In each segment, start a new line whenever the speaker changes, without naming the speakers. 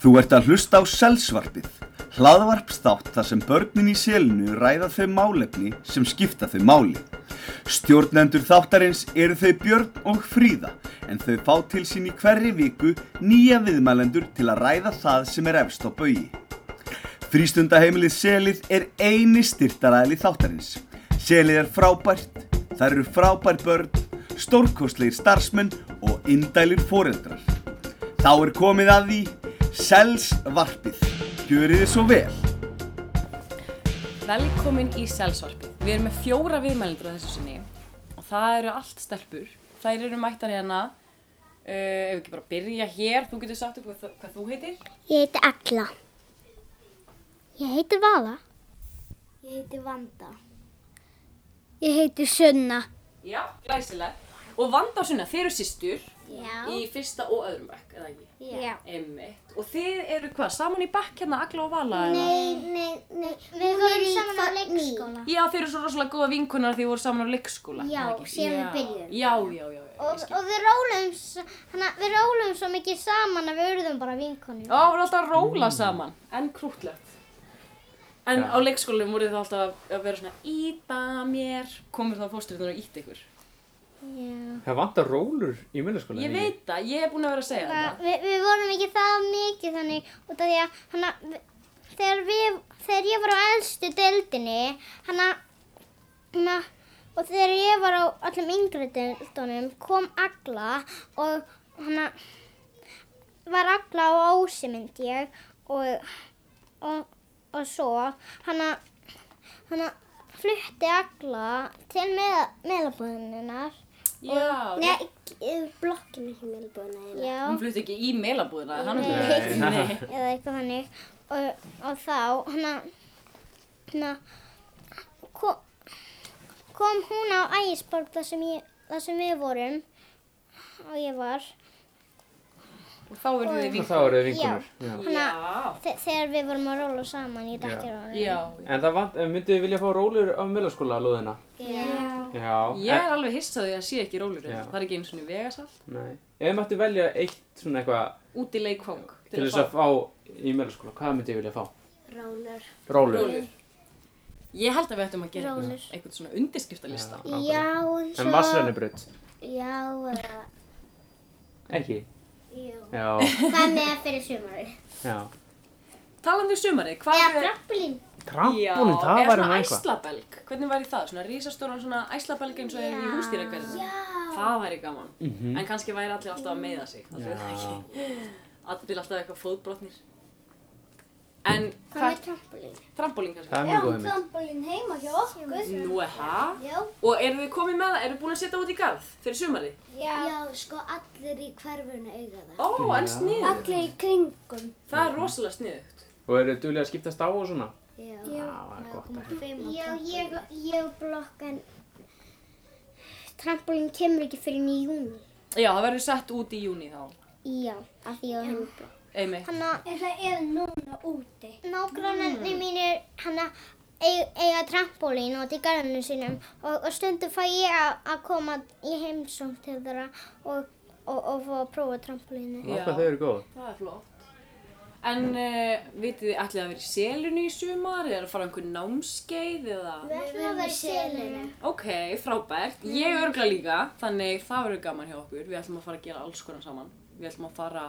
Þú ert að hlusta á Selsvarpið, hlaðvarpstátt þar sem börnin í selinu ræða þau málefni sem skipta þau máli. Stjórnendur þáttarins eru þau Björn og Fríða, en þau fá til sín í hverri viku nýja viðmælendur til að ræða það sem er efst á bögi. Frístundaheimilið Selið er eini styrtaræðli þáttarins. Selið er frábært, það eru frábær börn, stórkostlegir starfsmenn og indælir foreldrar. Þá er komið að því Selsvarpið. Gjörið þið svo vel.
Velkomin í Selsvarpið. Við erum með fjóra viðmælendur á þessu sinni og það eru allt stelpur. Þær eru mættar hérna. Uh, ef við ekki bara byrja hér, þú getur sagt upp hvað, þ- hvað þú heitir.
Ég heiti Agla. Ég heiti Vala. Ég heiti Vanda. Ég heiti Sunna.
Já, glæsilega. Og Vanda og Sunna, þeir eru systur
Já.
í fyrsta og öðrum bekk, eða ekki?
Já.
Einmitt. Og þið eru hvað, saman í bekk hérna, Agla og Vala? eða?
Nei, nei, nei. Við vorum saman á leikskóla.
Já, þeir eru svo rosalega góða vinkunar því þið voru saman á leikskóla.
Já,
eða ekki?
síðan við
Já.
byrjuðum.
Já, já, já, já, ég
Og,
skil.
og við rólum, hana, við rólum svo mikið saman að við urðum bara vinkonum.
Já, voru alltaf að róla saman. Mm. En krútlegt. En á leikskólanum voru þið alltaf að vera svona Íta mér. Komur þá fórsturinn og ítt ykkur.
Já.
Það vantar rólur í minnaskóla.
Ég veit það, ég er búin að vera að segja
Það,
þetta.
við, við vorum ekki það mikið þannig út af því að hana, við- þegar, við, þegar ég var á elstu deildinni hana, hana, og þegar ég var á öllum yngri deildunum kom Agla og hana, var Agla og Ási myndi ég og, og, og svo hana, hana flutti Agla til með, meðlabúðuninnar
Já,
Nei, blokkinni ekki meðlabúðunar Já
hún flutti ekki í meilabúðina, þannig að
Nei.
það er ekki.
eða eitthvað þannig og, og þá hana, hana kom, kom hún á ægisborg þar sem, ég, þar sem við vorum og ég var
Nei. Og þá verður þið
Og
vinkunar.
þá eru þið vinkunur. Já.
Já,
þe þegar við vorum að róla saman í dættir ára
já.
En það vant, en myndu þið vilja fá rólur á minnaskóla lóðina?
Já.
Já.
Ég er alveg hissað því að sé ekki rólur
Já.
þetta. Það er ekki eins og vegasall.
En, nei. Ef þið mættu velja eitt svona eitthvað
Út í leikfang.
til þess að fá í minnaskóla, hvað myndu þið vilja fá?
Rólur.
Rólur.
rólur. Ég held að við ættum að gera
Rólur.
eitthvað- eitthvað svona undirskriftalista.
Já. Nákvæmlega.
Já, eins
En
og...
vassrennubrödd?
Já, eða...
Ekki.
Jú.
Já.
Hvað með fyrir sumarið?
Já.
Talandi um sumarið, hvað
Eða
er-
drappulín?
Trampolín,
eða
það væri
svona
nú eitthvað.
æslabelg, hvernig væri það? Svona rísastóran svona æslabelg eins og er í hústýrakverðinu. Það væri gaman.
Mhm.
En kannski væri allir alltaf að meiða sig. Það fyrir það
Já.
ekki. Allir alltaf eitthvað fóðbrotnir. En
Hvað með
hvað,
trampolín?
trampolín kannski?
Það er mjög góð hugmynd.
trampolín heima hjá okkur.
Nú er það.
Já.
Og eru þið komið með það? Eru þið búin að setja út í garð fyrir sumarið?
Já.
sko allir í hverfunu eiga það.
Ó, en
Já.
sniðugt.
Allir í kringum.
Það er rosalega sniðugt.
Og eru þið duglega að skiptast á og svona?
Já.
Já. Það er gott. að-
Já, ég, ég blokk en trampolín kemur ekki fyrir í júni.
Já, það verður sett út í júni þá.
Já, af því að hann blokk.
Einmitt.
Hanna,
En það er núna úti.
nágrannarni mínir, hanna, eig- eiga trampolín út í garðinu sínum og, og stundum fæ ég a- að koma í heimsóng til þeirra og, og, og fá að prófa trampolínu.
Vá,
Já.
hvað þau eru góð.
Það er flott. En uh, vitið þið ætlið þið að vera í selinu í sumar eða að fara á einhver námskeið eða?
ætlum að vera í selinu.
Ok, frábært. Ég örgla líka, þannig það verður gaman hjá okkur. Við ætlum að fara að gera alls konar saman. Við ætlum að fara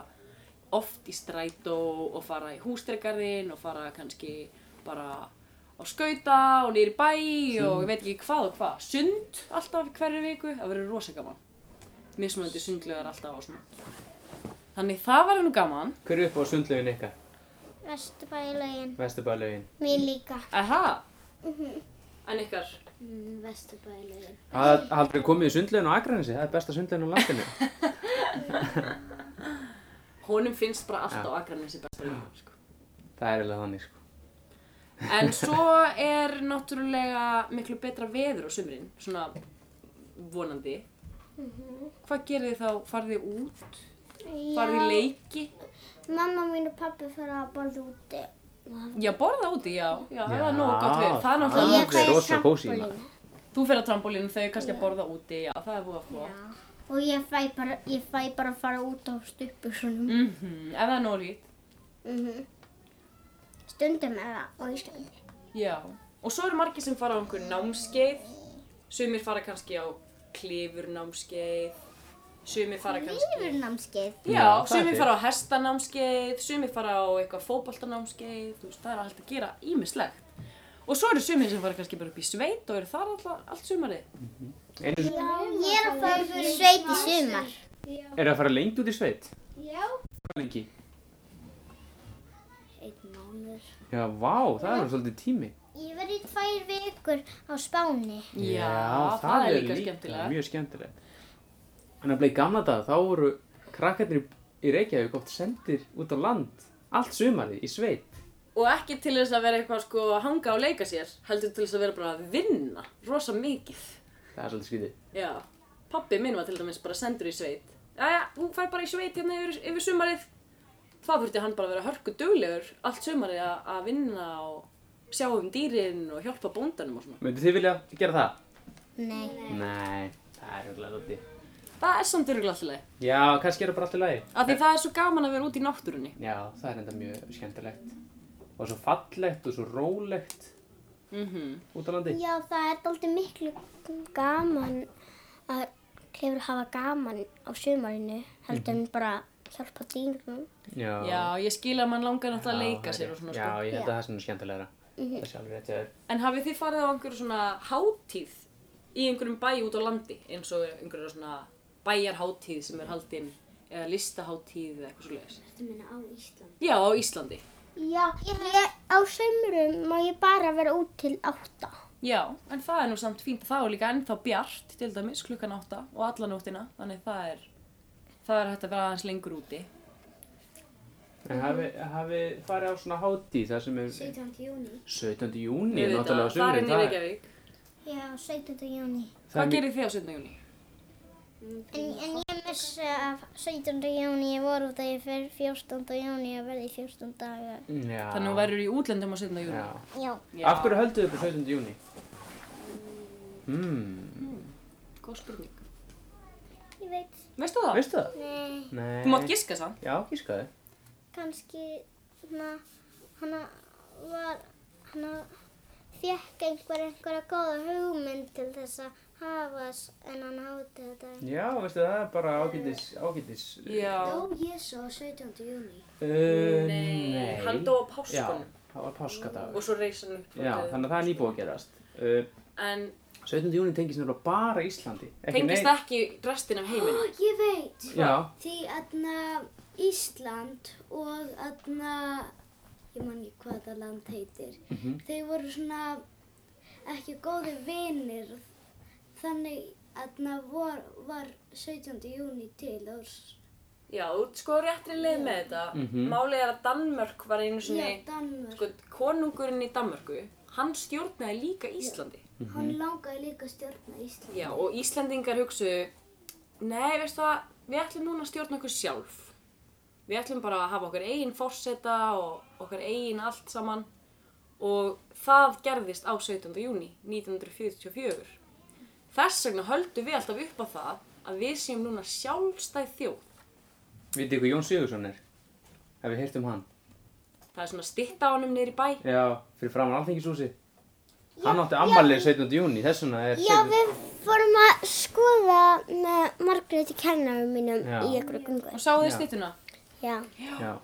oft í strætó og fara í hústregarðin og fara kannski bara á skauta og niður í bæ og ég veit ekki hvað og hvað. Sund alltaf hverju viku, það verður rosa gaman. Mismunandi sundlegar alltaf og svona. Þannig það verður nú gaman.
Hver er upp á sundlegin ykkar?
Vesturbælaugin.
Vesturbælaugin.
Mér líka.
Aha! Mhm. En ykkar?
Vesturbælaugin.
Það hafði komið í sundlegin á Akranesi, það er besta sundlegin á landinu.
Honum finnst bara allt
Já.
á Akranesi besta líka, sko.
Það er eiginlega þannig sko.
En svo er náttúrulega miklu betra veður á sumrin, svona vonandi. Hvað gerir þið þá? Farið þið út? Farið þið í leiki?
Mamma mín og pabbi fyrir að borða úti.
Já, borða úti, já. Já, það er nógu gott veður. Það er
það
náttúrulega...
er-
alveg Ah, rosa kósí.
Þú fyrir á trampolínu, þau kannski að borða úti, já, það er búið að fóa.
Og ég fæ bara, ég fæ bara að fara út á stuppusunum.
Mhm, ef það er nógu lít.
Stundum er það á Íslandi.
Já, og svo eru margir sem fara á einhver námskeið, sumir fara kannski á klifurnámskeið, sumir fara kannski...
Lífurnámskeið.
Já,
Já, það
sumir
er
fara á hestanámskeið, sumir fara á eitthvað fótboltanámskeið, þú veist, það er allt að gera ímislegt. Og svo eru sumir sem fara kannski bara upp í sveit og eru þar alltaf allt sumarið.
Einu,
Ég er að fara fyrir sveit í sumar.
er það að fara lengt út í sveit?
Já.
Hvað lengi?
Einn mánuður.
Já, vá, það er alveg svolítið tími.
Ég verði í tvær vikur á Spáni.
það, er líka skemmtilegt.
Mjög skemmtilegt. En að bleið gamla dag, þá voru krakkarnir í- í Reykjavík oft sendir út á land, allt sumarið, í sveit.
Og ekki til þess að vera eitthvað sko að hanga og leika sér, heldur til þess að vera bara að vinna rosa mikið.
Það er svolítið skytið.
Já, pappi minn var til dæmis bara sendur í sveit. Jæja, hún fær bara í sveit hérna yfir, yfir sumarið. Þá þurfti hann bara að vera hörku duglegur allt sumarið að- að vinna og sjá um dýrin og hjálpa bóndanum og svona.
Möndu þið vilja gera það?
Nei.
Nei, það er huglega svolítið.
Það er samt örugglega alltaf leið.
Já, kannski er það bara allt í lagi.
Af því það er svo gaman að vera út í náttúrunni.
Já, það er enda mjög skemmtilegt. Og svo fallegt og svo rólegt
Mm
út á landi.
Já, það er aldrei miklu gaman að hefur hafa gaman á sumarinu heldur en bara hjálpa dýrum.
Já,
Já, ég skil að mann langar náttúrulega að
Já,
leika
það er
sér og
rétt.
svona
Já,
sko.
ég held að það er svona skemmtilegra. Það er sjálfur rétt hjá þér.
En hafið þið farið á einhverju svona hátíð í einhverjum bæ út á landi eins og einhverju svona bæjarhátíð sem er haldin eða listahátíð eða eitthvað svo leiðis?
Þetta minna á Ísland.
Já, á Íslandi.
Já, ég, á sömrum má ég bara vera út til átta.
Já, en það er nú samt fínt að það er líka ennþá bjart til dæmis klukkan átta og alla nóttina þannig það er, það er hægt að vera aðeins lengur úti.
En hafi,
Mhm.
hafi farið á svona hátíð þar sem er
17. júni.
17. júni,
Ég veit
náttúrulega
að það
á
er
sumrin,
inn í Reykjavík.
Já, 17. júni.
það er
Hvað
mjög-
gerir þið á 17. júni?
En, en ég missi af 17. júni, ég voru út að ég fer 14. júni að verði 14 dagar.
Já.
Þannig að þú verður í útlendum á 17. júni.
Já.
Já,
Já.
Af hverju hölduðu upp á 17. júni? Hmm,
Góð spurning.
ég veit.
Veistu það?
veistu það?
Nei,
Nei.
Þú mátt giska samt.
Já, gískaðu.
kannski svona, hana var, hana fekk einhver einhverja góða hugmynd til þess að hafa s- þennan hátíð þetta.
Já, veistu það er bara ágætis, ágætis.
Já.
Dó Jésu á 17. júni.
Uh, nei.
Hann dó á
Já,
páskunum
það var páskadagur.
og svo reys hann upp. frá
Já,
dauðum.
þannig að það er nýbúið að gerast. Uh,
En
17. júni tengist nefnilega bara Íslandi.
tengist ekki restin af heiminum.
Ég veit.
Já,
Því aðna Ísland og aðna, ég man ekki hvað það land heitir,
Mhm.
þeir voru svona ekki góði vinir, þannig aðna vor, var 17. júni til og s-
Já, þú ert sko á réttri leið með þetta.
Mhm.
Málið er að Danmörk var einu
já,
sinni,
Danmörk,
sko, konungurinn í Danmörku, hann stjórnaði líka Íslandi.
Mhm.
hann langaði líka að stjórna Ísland.
Já, og Íslandingar hugsuðu, nei, veistu það, við ætlum núna að stjórna okkur sjálf. Við ætlum bara að hafa okkar eigin fórseta og okkar eigin allt saman og það gerðist á 17. júni 1944. Þess vegna höldum við alltaf upp á það að við séum núna sjálfstæð þjóð.
vitið hvað Jón Sigursson er? Hef við heyrt um hann?
Það er svona stitta á honum niður í bæ.
Já, fyrir framan alþingishúsi. Hann átti ammalið 17. júni, þess vegna er
Já, við fórum að skoða með Margréti kennarum mínum
Já.
í einhverju gungu.
Og sáu þið
Já.
stittuna?
Já.
Já,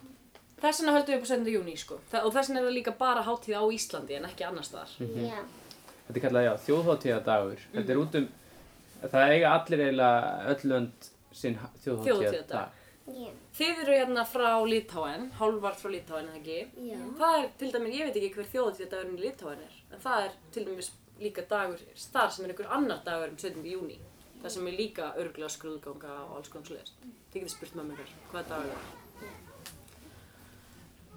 Þess vegna höldum við upp á 17. júni, sko. Þa og þess vegna er það líka bara hátíð á Íslandi en ekki annars staðar.
Mhm.
Mhm.
Já.
þetta er kallað, já, þjóðháttíðadagur. Þetta er
Mm.
út um, það eiga allir eiginlega öll lönd sinn ha-
Þjóðhátíðardag.
þjóðháttíðadag.
Já.
Þið eru hérna frá Litáen, hálfvart frá Litáen, eða ekki?
Já.
Það er, til dæmis, ég veit ekki hver þjóðatíðadagurinn í Litáen er, en það er til dæmis líka dagur þar sem er einhver annar dagur um 17. júni. Það sem er líka örgulega skrúðganga og alls konar svoleiðis. Þið getið spurt mamma ykkur hvað dagur það er.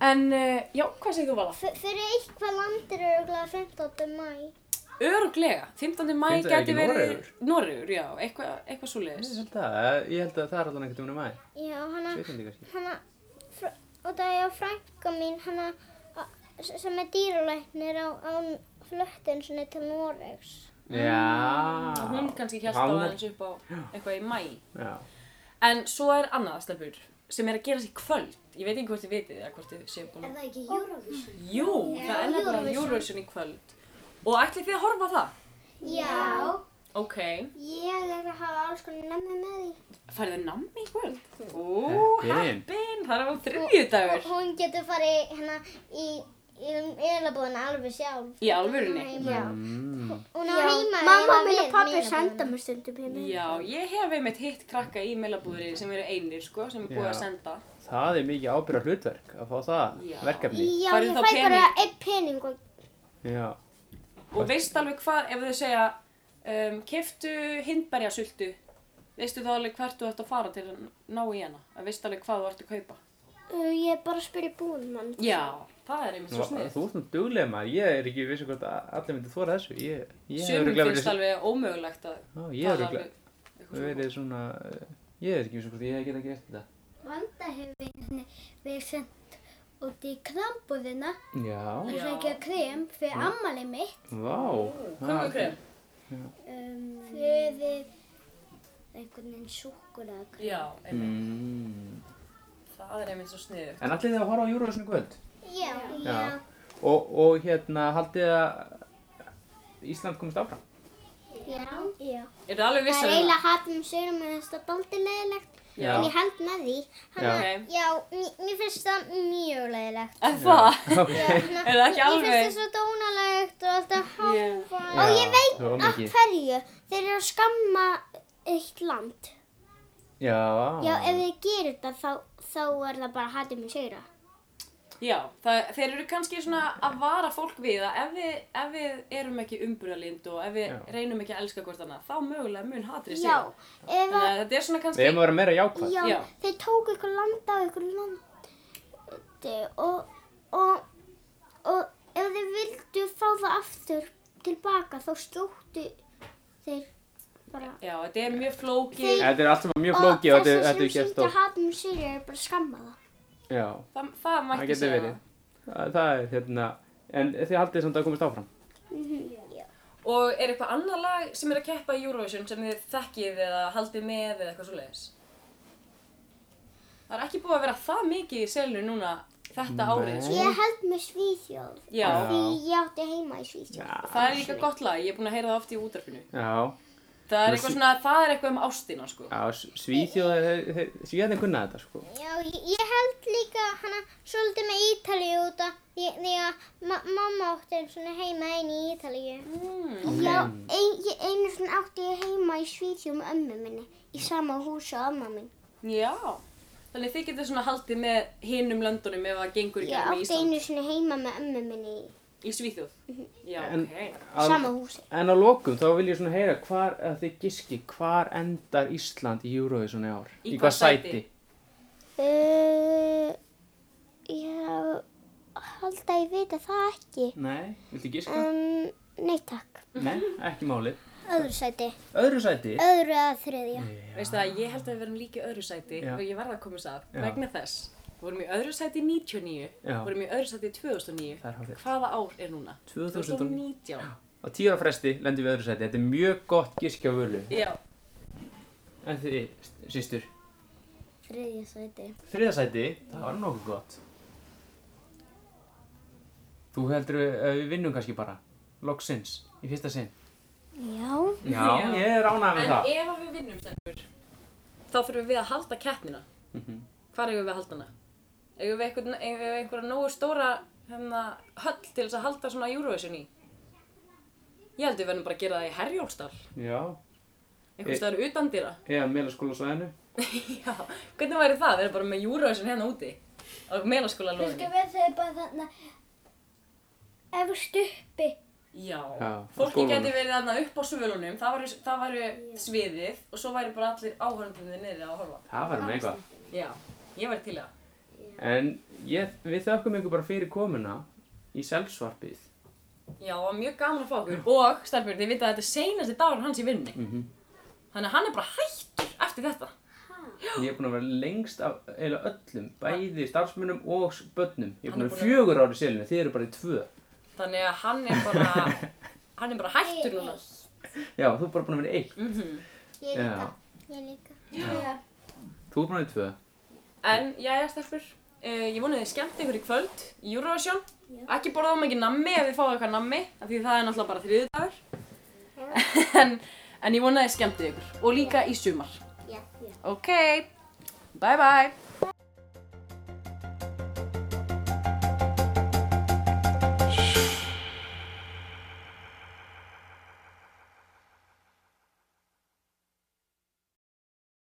En, uh, já, hvað segir þú Vala?
F fyrir eitthvað landir eru örugglega 15. mæ.
Öruglega, 15. mæ
Fimmta- er
gæti
ekki
verið... Noregur? já, eitthvað, eitthvað svoleiðis.
Ég held að, ég held að það er allan einhvern veginn um aðeins.
Já, hana,
Sveitandi kannski.
hana, fr- og það er frænka mín, hana, a- s- sem er dýralæknir á, á flöttin sinni til Noregs.
Já.
Mm. Hún kannski hjálpa
Hann-
aðeins upp á eitthvað í mæ.
Já.
En svo er annað, stelpur, sem er að gera sér kvöld. kvöld. Ég veit ekki hvort þið vitið eða hvort þið séu búin
Er
að...
það ekki Eurovision?
Jú, það er nefnilega Eurovision í kvöld. Og ætlið þið að horfa á það?
Já.
Ok.
Ég er að hafa alls konar nefni með því.
Færðu nammi í kvöld? Ú,
Heppin.
heppin. Það er á þriðjudagur.
Hún getur farið hérna í, í eðlabóðina alveg sjálf.
Í alvörunni?
Já.
Mm.
Hún á heima
Mamma
eiginlega
mín og
við
pappi
meira
senda
bara.
mér stundum hérna.
Já, ég hef einmitt hitt krakka í meilabúðri sem eru einir, sko, sem er búið
Já.
að senda.
Það er mikið ábyrra hlutverk að fá það
Já.
verkefni.
Já,
Færðu
ég
þá
fæ bara
pening?
einn pening og
Já.
Og veist alveg hvað, ef þau segja, um, keftu hindberjasultu, veistu þá alveg hvert þú ert að fara til að ná í hana? Að veistu alveg hvað þú ert að kaupa?
Uh, ég er bara að spyrja búinn mann.
Já, það er einmitt
Þú
svo
þú ert
snið.
svona duglega maður, ég er ekki vissi hvort að allir myndi þóra þessu. Ég, ég hef
Sumum
örugglega
finnst alveg ómögulegt að
Já, ég hef örugglega
alveg
verið svona, eh, ég er ekki vissi hvort ég hef getað gert þetta.
Vanda hefur verið sendt út í krambúðina
Já,
að sækja krem fyrir ammalið mitt.
vá.
Komum við
það-
krem?
Um, fyrir einhvern veginn súkulag.
Já, einmitt.
Mm.
Það er einmitt svo snið.
En allir þið að horfa á Eurovision í kvöld?
já.
Já. Og, og hérna, haldið þið að Ísland komist áfram?
Já. já.
Er það alveg
Það
vissar
er eiginlega hatt um sögur með þetta daldi leðilegt.
Já.
En ég held með því. Hanna,
Já.
Ok.
já, mér, mér finnst það mjög leðilegt.
Er það?
Ok.
Er það ekki
Mér
alveg?
finnst það svo dónalegt og alltaf
Ég-
háfa.
Já,
Og ég veit
það var
af
mikið.
hverju. Þeir eru að skamma eitt land.
Já.
Já, ef þið gerir þetta þá, þá er það bara hattum í sigra.
Já, það, þeir eru kannski svona að vara fólk við að ef við, ef við erum ekki umburðalind og ef við
Já.
reynum ekki að elska hvort annað, þá mögulega mun hatrið
Já,
sig.
ef
Þannig
að,
að þetta er svona
Við
kannski,
hefum að vera meira jákvæð.
já,
Já.
þeir tóku ykkur land á ykkur landi og, og, og ef þið vildu fá það aftur tilbaka þá skjóttu þeir bara.
já, þetta er mjög flókið,
Þetta er allt saman mjög flókið og þetta- þetta
sem
er gert
syngja
og...
hattum í sigra er bara að skamma það.
Já,
það, það
það
mætti
getur verið. Það, það er hérna, en þið haldið samt að komist áfram?
Og er eitthvað annað lag sem er að keppa í Eurovision sem þið þekkið eða haldið með eða eitthvað svoleiðis? Það er ekki búið að vera það mikið í selinu núna þetta árið. sko.
Ég held með Svíþjóð
Já,
Já.
því ég átti heima í Svíþjóð.
Já.
það er líka gott lag, ég er búin að heyra það oft í útarpinu.
Já.
Það er
Nú,
eitthvað
sí-
svona, það er eitthvað um ástina, sko.
Já, Svíþjóðar, Svíþjóðar kunna þetta sko.
Já, ég, ég held líka hana svolítið með Ítalíu út af því því að ma mamma átti einu svona heima einu í Ítalíu.
Mm.
Já, ein, ég, einu svona átti ég heima í Svíþjóð með ömmu minni í sama húsi og amma minn.
Já, þannig þið getur svona haldið með hinum löndunum ef það gengur í
Ég
gegnum í
átti
Ísland.
einu svona heima með ömmu minni í
Í Svíþjóð. Já,
En-
ok.
Að-
sama húsi.
En á lokum þá vil ég svona heyra hvar, að þið giski, hvar endar Ísland í Eurovision í ár?
Í hvað sæti?
Uh, já, held að ég veit að það ekki.
Nei, viltu giska?
Um, nei takk.
Nei, ekki málið.
Öðru sæti.
Öðru sæti?
Öðru eða þriðja.
Veistu það, ég held að við verðum líka í öðru sæti
Já.
og ég verða að koma þess að
Já.
vegna þess. Við vorum í öðru sæti 99,
Já.
vorum í öðru sæti 2009.
Það er hálfrétt.
Hvaða ár er núna?
2019.
2019.
Á tíra fresti lendum við í öðru sæti. Þetta er mjög gott giski á völu.
Já,
En þið, sýstur,
Þriðja sæti.
þriða sæti, það var nokkuð gott. Þú heldur að við vinnum kannski bara, loksins, í fyrsta sinn.
Já.
Já,
Já.
ég er ánægð með
en
það.
ef að við vinnum stendur, þá þurfum við að halda keppnina.
Mhm.
Hvar eigum við að halda hana? Eigum við einhvern- eigum við einhverja nógu stóra hérna, höll til þess að halda svona Eurovision í? Ég held við verðum bara að gera það í Herjólfsdal,
Já,
einhvers
Ég-
staðar utan dýra.
eða meðlaskóla svæðinu.
Já, hvernig væri það? Við erum bara með Eurovision hérna úti á meðlaskóla
Viltu við þau bara þarna efst uppi?
Já,
Já, á
fólki
skólanum.
geti verið þarna upp á svölunum, það væri, það væri sviðið og svo væri bara allir áhörndunni niðri að horfa.
Það var með eitthvað.
Já, ég væri til í það.
En ég, við þökkum ykkur bara fyrir komuna í selfsvarpið.
Já, það var mjög gaman að fá okkur og, Stærfjörn, þið vitað að þetta er seinasti dagur hans í vinnunni.
Mhm.
Þannig að hann er bara hættur eftir þetta.
Ég er búin að vera lengst af eiginlega öllum, bæði starfsmunum og s- börnum. Ég er
Hann
búin
er
að
búinn
vera fjögur ári selinu, þið eru bara í tvö.
Þannig að hann er bara, hann er bara hættur núna.
Já, þú er bara búin að vera í eitt.
Ég
Já.
líka. Ég líka.
Þú er búin að vera í tvö.
En, jæja, Stærfjörn, Uh, ég vonið þið skemmt ykkur í kvöld í Eurovision. Ekki borða á mikið nammi ef þið fáið eitthvað nammi, af því það er náttúrulega bara þriðdagur. en, en ég vonið þið skemmt ykkur og líka í sumar.
Já.
Ok, bye bye.